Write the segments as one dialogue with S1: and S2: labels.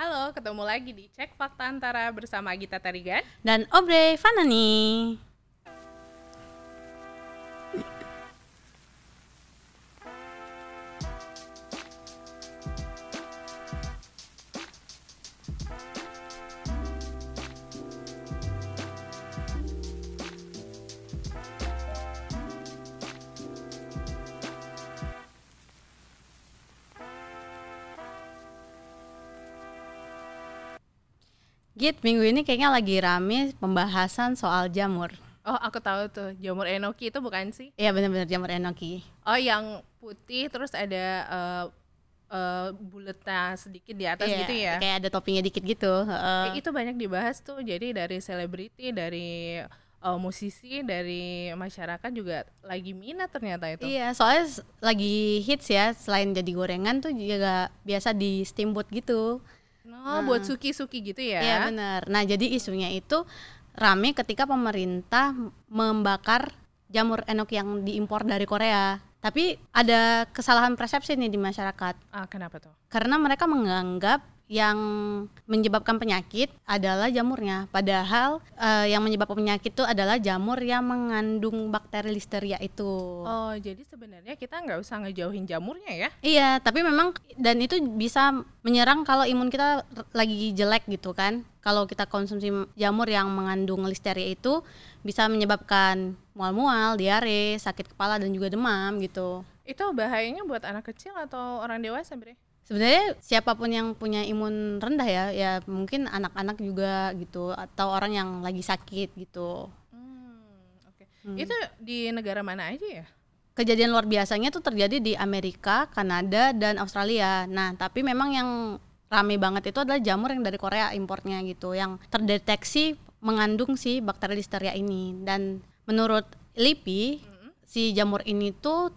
S1: Halo, ketemu lagi di Cek Fakta Antara bersama Gita Tarigan.
S2: dan Obre Fanani. Git, minggu ini kayaknya lagi rame pembahasan soal jamur.
S1: Oh, aku tahu tuh, jamur enoki itu bukan sih?
S2: Iya bener-bener jamur enoki.
S1: Oh, yang putih terus ada eh eh, buletnya sedikit di atas
S2: Iya,
S1: gitu ya.
S2: Kayak ada toppingnya dikit gitu. heeh.
S1: Eh, itu banyak dibahas tuh. Jadi dari selebriti, dari eh, musisi, dari masyarakat juga lagi minat ternyata itu.
S2: Iya, soalnya s- lagi hits ya. Selain jadi gorengan tuh juga biasa di steamboat gitu.
S1: Oh, buat suki-suki gitu ya.
S2: Iya bener. Nah jadi isunya itu rame ketika pemerintah membakar jamur enoki yang diimpor dari Korea. Tapi ada kesalahan persepsi nih di masyarakat.
S1: Ah, kenapa tuh?
S2: karena mereka menganggap yang menyebabkan penyakit adalah jamurnya padahal eh, yang menyebabkan penyakit itu adalah jamur yang mengandung bakteri listeria itu
S1: Oh, jadi sebenarnya kita nggak usah ngejauhin jamurnya ya.
S2: iya tapi memang dan itu bisa menyerang kalau imun kita r- lagi jelek gitu kan kalau kita konsumsi m- jamur yang mengandung listeria itu bisa menyebabkan mual-mual diare sakit kepala dan juga demam gitu
S1: Itu bahayanya buat anak kecil atau orang dewasa, Bre?
S2: Sebenarnya siapapun yang punya imun rendah ya, ya mungkin anak-anak juga gitu atau orang yang lagi sakit gitu.
S1: Hmm, oke. Itu di negara mana aja ya?
S2: Kejadian luar biasanya tuh terjadi di Amerika, Kanada, dan Australia. Nah, tapi memang yang rame banget itu adalah jamur yang dari Korea importnya gitu, yang terdeteksi mengandung si bakteri listeria ini. Dan menurut LIPI, si jamur ini tuh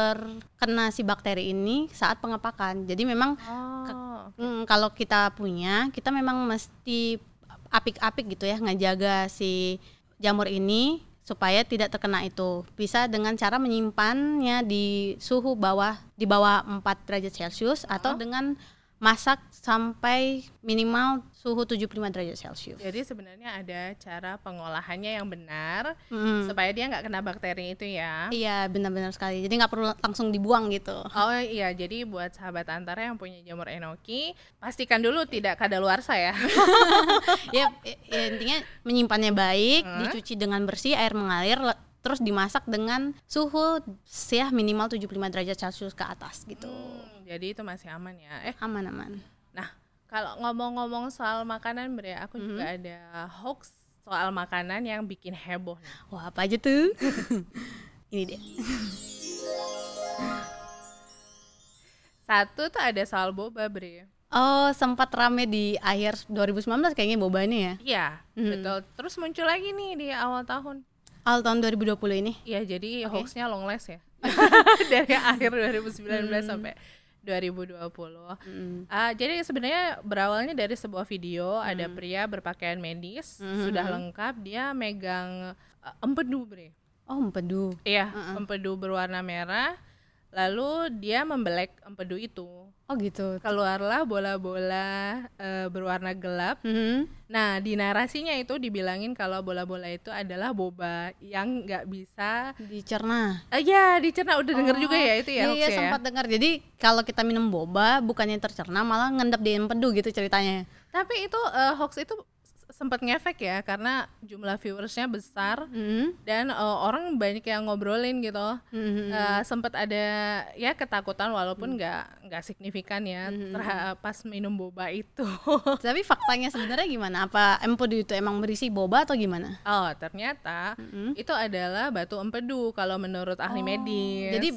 S2: terkena si bakteri ini saat pengepakan. Jadi memang
S1: Oh.
S2: Mm, kalau kita punya, kita memang mesti apik-apik gitu ya ngejaga si jamur ini supaya tidak terkena itu. Bisa dengan cara menyimpannya di suhu bawah di bawah 4 derajat Celcius atau dengan masak sampai minimal suhu 75 derajat Celcius.
S1: Jadi sebenarnya ada cara pengolahannya yang benar
S2: Mm.
S1: supaya dia nggak kena bakteri itu ya.
S2: Iya, benar-benar sekali. Jadi nggak perlu langsung dibuang gitu.
S1: Oh iya, jadi buat sahabat antara yang punya jamur enoki, pastikan dulu tidak kadaluarsa ya.
S2: ya, i- ya, intinya menyimpannya baik, dicuci dengan bersih, air mengalir, le- terus dimasak dengan suhu ya minimal 75 derajat Celcius ke atas gitu.
S1: Hmm, jadi itu masih aman ya. Eh,
S2: Aman-aman.
S1: nah kalau ngomong-ngomong soal makanan, Bre, aku juga ada hoax soal makanan yang bikin heboh. nih.
S2: Wah, apa aja tuh? Ini dia.
S1: Satu tuh ada soal boba, Bre.
S2: Oh, sempat rame di akhir 2019 kayaknya bobanya ya.
S1: Iya, betul. Terus muncul lagi nih di awal tahun.
S2: Al tahun 2020 ini.
S1: Iya, jadi hoaxnya long last ya. Dari akhir 2019 sampai 2020.
S2: Mm.
S1: Ah, jadi sebenarnya berawalnya dari sebuah video ada pria berpakaian medis sudah lengkap dia megang eh, empedu, Bre.
S2: Oh, empedu.
S1: Iya, empedu berwarna merah. Lalu dia membelek empedu itu.
S2: Oh, gitu.
S1: Keluarlah bola-bola eh, berwarna gelap
S2: Mhm.
S1: Nah, di narasinya itu dibilangin kalau bola-bola itu adalah boba yang nggak bisa
S2: Dicerna.
S1: eh ya dicerna udah denger juga ya itu ya.
S2: Iya, iya
S1: hoaxnya ya?
S2: sempat dengar. Jadi kalau kita minum boba bukannya tercerna malah ngendap di empedu gitu ceritanya.
S1: Tapi itu eh, hoax itu s- sempat ngefek ya karena jumlah viewersnya besar
S2: Mhm.
S1: dan eh, orang banyak yang ngobrolin gitu.
S2: Mhm.
S1: Eh, sempat ada ya ketakutan walaupun nggak nggak signifikan ya terha- pas minum boba itu.
S2: Eh, Tapi faktanya sebenarnya gimana? Apa empedu itu emang berisi boba atau gimana?
S1: oh, ternyata
S2: Mhm.
S1: itu adalah batu empedu kalau menurut ahli medis.
S2: Jadi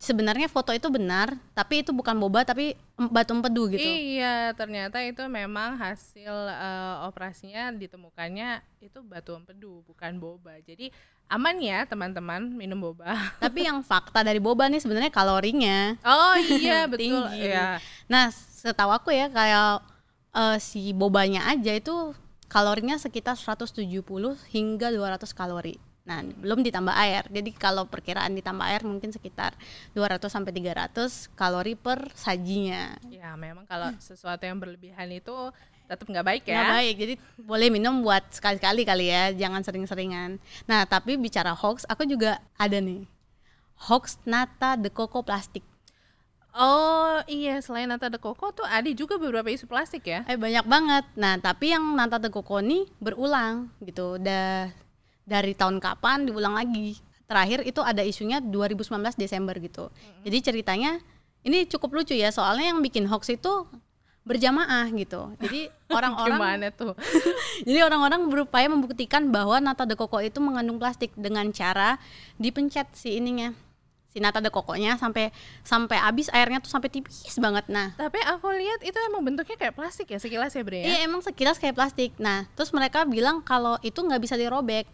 S2: sebenarnya foto itu benar, tapi itu bukan boba tapi em- batu empedu gitu.
S1: Iya, ternyata itu memang hasil eh, operasinya ditemukannya itu batu empedu, bukan boba. Jadi aman ya teman-teman minum boba.
S2: tapi yang fakta dari boba nih sebenarnya kalorinya.
S1: Oh iya betul.
S2: Tinggi.
S1: Iya.
S2: Nah, setahu aku ya kayak eh, si bobanya aja itu kalorinya sekitar 170 hingga 200 kalori. Nah, belum ditambah air. Jadi kalau perkiraan ditambah air mungkin sekitar 200 sampai 300 kalori per sajinya.
S1: Ya memang kalau sesuatu yang berlebihan itu tetap nggak baik
S2: Nggak
S1: ya.
S2: Nah, baik. Jadi boleh minum buat sekali-kali kali ya, jangan sering-seringan. Nah, tapi bicara hoax, aku juga ada nih. Hoax nata de coco plastik.
S1: Oh iya selain nata de coco tuh ada juga beberapa isu plastik ya.
S2: Eh banyak banget. Nah, tapi yang nata de coco ini berulang gitu. Da dari tahun kapan diulang lagi. Terakhir itu ada isunya 2019 Desember gitu. Jadi ceritanya ini cukup lucu ya, soalnya yang bikin hoax itu berjamaah gitu. Jadi orang-orang
S1: Gimana tuh?
S2: Jadi orang-orang berupaya membuktikan bahwa nata de coco itu mengandung plastik dengan cara dipencet si ininya. Si nata de coconya sampai sampai habis airnya tuh sampai tipis banget. Nah,
S1: Tapi aku lihat itu emang bentuknya kayak plastik ya sekilas ya Bre ya.
S2: Iya emang sekilas kayak plastik. Nah terus mereka bilang kalau itu nggak bisa dirobek.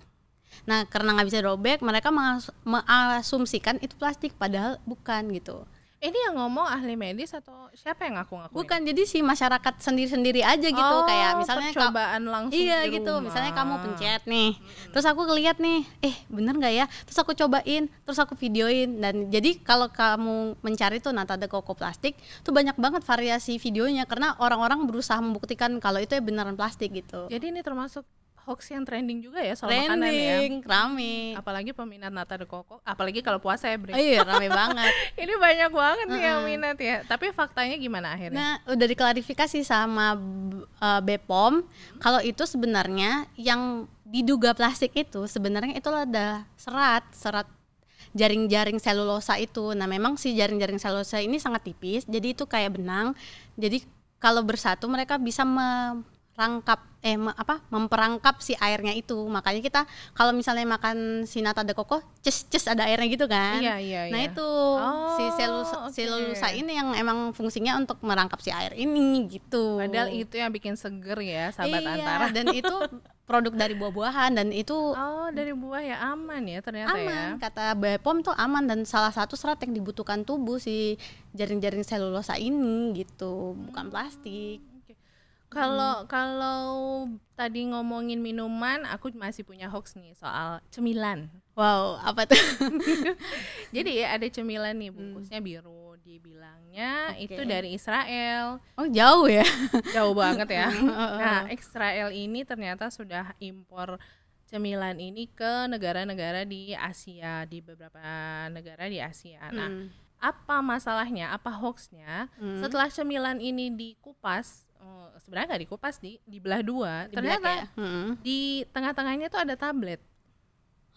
S2: Nah karena nggak bisa dirobek, mereka mengas- mengasumsikan itu plastik padahal bukan gitu.
S1: Ini yang ngomong ahli medis atau siapa yang ngaku-ngaku?
S2: Bukan jadi si masyarakat sendiri-sendiri aja
S1: nih?
S2: gitu
S1: Oh,
S2: kayak misalnya ka-
S1: percobaan langsung
S2: Iya
S1: di
S2: gitu,
S1: rumah.
S2: misalnya kamu pencet nih, terus aku ngeliat nih, eh bener nggak ya? Terus aku cobain, terus aku videoin dan jadi kalau kamu mencari tuh nata de coco plastik, tuh banyak banget variasi videonya karena orang-orang berusaha membuktikan kalau itu ya beneran plastik gitu.
S1: Jadi ini termasuk hoax yang trending juga ya soal Iya, makanan ya.
S2: Trending, rame.
S1: Apalagi peminat Nata de Coco, apalagi kalau puasa ya Bre.
S2: Iya, rame banget.
S1: Ini banyak banget nih yang minat ya. Tapi faktanya gimana akhirnya?
S2: Nah, udah diklarifikasi sama B- eh, BPOM kalau itu sebenarnya yang diduga plastik itu sebenarnya itu ada serat, serat jaring-jaring selulosa itu. Nah, memang si jaring-jaring selulosa ini sangat tipis, jadi itu kayak benang. Jadi kalau bersatu mereka bisa merangkap eh me- apa memperangkap si airnya itu. Makanya kita kalau misalnya makan si nata de coco, ces ces ada airnya gitu kan.
S1: iya, iya,
S2: Nah
S1: iya.
S2: itu si selulosa,
S1: oke.
S2: selulosa ini yang emang fungsinya untuk merangkap si air ini gitu.
S1: Padahal itu yang bikin seger ya, sahabat
S2: Iya,
S1: antara.
S2: Dan itu produk dari buah-buahan dan itu
S1: Oh, dari buah ya aman ya ternyata ya.
S2: aman kata Bepom tuh aman dan salah satu serat yang dibutuhkan tubuh si jaring-jaring selulosa ini gitu, bukan plastik.
S1: Oke. Kalau kalau tadi ngomongin minuman, aku masih punya hoax nih soal cemilan.
S2: Wow, apa tuh?
S1: Jadi ya, ada cemilan nih bungkusnya biru, dibilangnya
S2: Hmm. Oke.
S1: itu dari Israel.
S2: Oh, jauh ya.
S1: jauh banget ya.
S2: Hmm.
S1: Nah,
S2: Uh.
S1: Israel ini ternyata sudah impor cemilan ini ke negara-negara di Asia, di beberapa negara di Asia. Nah,
S2: Hmm.
S1: apa masalahnya? Apa hoaxnya?
S2: Hmm.
S1: Setelah cemilan ini dikupas, eh, sebenarnya nggak dikupas di dibelah dua.
S2: Dibilang
S1: ternyata
S2: ya. Hmm.
S1: di tengah-tengahnya tuh ada tablet.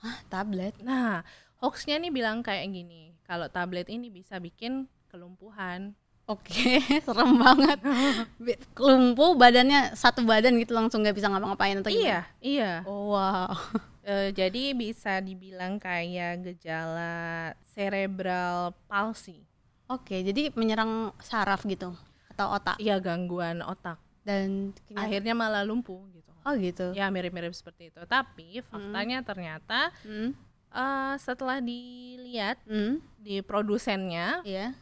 S2: Hah, tablet.
S1: Nah, hoaxnya nih bilang kayak gini, kalau tablet ini bisa bikin kelumpuhan.
S2: Oke, serem banget. Bi- Lumpuh badannya satu badan gitu langsung nggak bisa ngapa-ngapain atau gimana?
S1: Iya, iya.
S2: Oh, wow.
S1: Eh, jadi bisa dibilang kayak gejala cerebral palsy.
S2: Oke, jadi menyerang saraf gitu atau otak
S1: Iya, gangguan otak.
S2: dan kenyata-
S1: Akhirnya malah lumpuh gitu.
S2: Oh gitu.
S1: Ya mirip-mirip seperti itu. Tapi faktanya ternyata
S2: Hmm.
S1: eh, setelah dilihat
S2: Hmm.
S1: di produsennya
S2: Iya.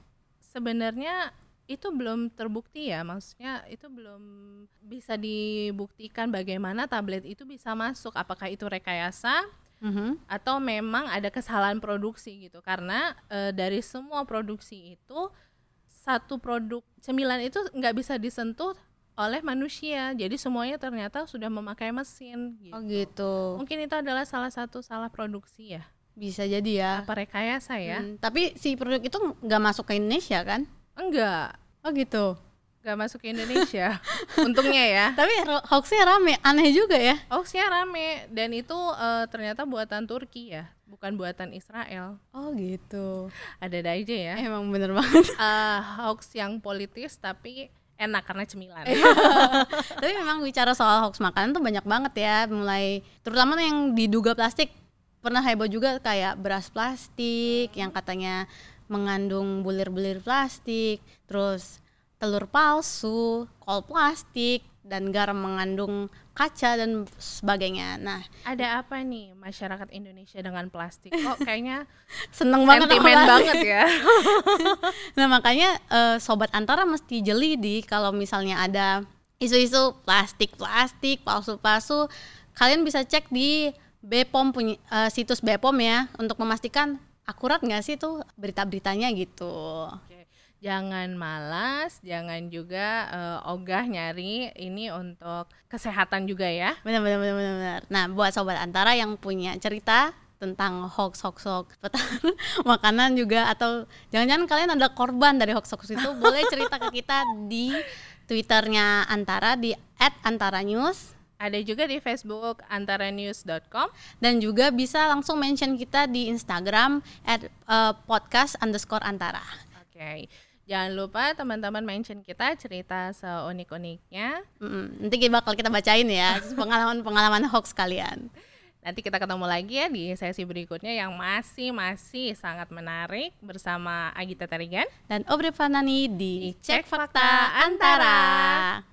S1: sebenarnya itu belum terbukti ya. Maksudnya itu belum bisa dibuktikan bagaimana tablet itu bisa masuk. Apakah itu rekayasa
S2: Mhm.
S1: atau memang ada kesalahan produksi gitu karena eh, dari semua produksi itu satu produk cemilan itu nggak bisa disentuh oleh manusia jadi semuanya ternyata sudah memakai mesin gitu.
S2: Oh gitu.
S1: mungkin itu adalah salah satu salah produksi ya
S2: Bisa jadi ya.
S1: apa rekayasa ya
S2: Hmm, Tapi si produk itu nggak masuk ke Indonesia kan?
S1: enggak
S2: Oh gitu.
S1: nggak masuk ke Indonesia untungnya ya
S2: Tapi ro- hoaxnya rame, aneh juga ya.
S1: hoaxnya rame dan itu eh, ternyata buatan Turki ya bukan buatan Israel
S2: Oh gitu.
S1: ada aja ya
S2: Emang bener banget.
S1: Eh, hoax yang politis tapi enak karena cemilan
S2: Tapi memang bicara soal hoax makanan tuh banyak banget ya, mulai terutama yang diduga plastik. Pernah heboh juga kayak beras plastik yang katanya mengandung bulir-bulir plastik, terus telur palsu, kol plastik dan garam mengandung kaca dan sebagainya. Nah,
S1: ada apa nih masyarakat Indonesia dengan plastik kok kayaknya
S2: seneng banget aku
S1: sentimen
S2: bahas.
S1: banget ya
S2: Nah, makanya eh, sobat antara mesti jeli di kalau misalnya ada isu-isu plastik-plastik, palsu-palsu, kalian bisa cek di BPOM punya eh, situs BPOM ya untuk memastikan akurat nggak sih tuh berita-beritanya gitu.
S1: Oke. Jangan malas, jangan juga eh, ogah nyari ini untuk kesehatan juga ya.
S2: Benar benar benar benar. benar. Nah, buat sobat antara yang punya cerita tentang hoax hoax hoax seputar makanan juga atau jangan-jangan kalian ada korban dari hoax hoax itu boleh cerita ke kita di twitternya antara di @antaranews
S1: Ada juga di Facebook antaranews.com.
S2: dan juga bisa langsung mention kita di Instagram at eh, podcast underscore antara.
S1: Oke. Jangan lupa teman-teman mention kita cerita seunik-uniknya.
S2: Mm, nanti kita bakal kita bacain ya pengalaman-pengalaman hoax kalian.
S1: Nanti kita ketemu lagi ya di sesi berikutnya yang masih masih sangat menarik bersama Agita Tarigan.
S2: Dan Obre Fanani di
S1: Cek
S2: Cek
S1: Fakta
S2: Fakta
S1: Antara.
S2: Antara.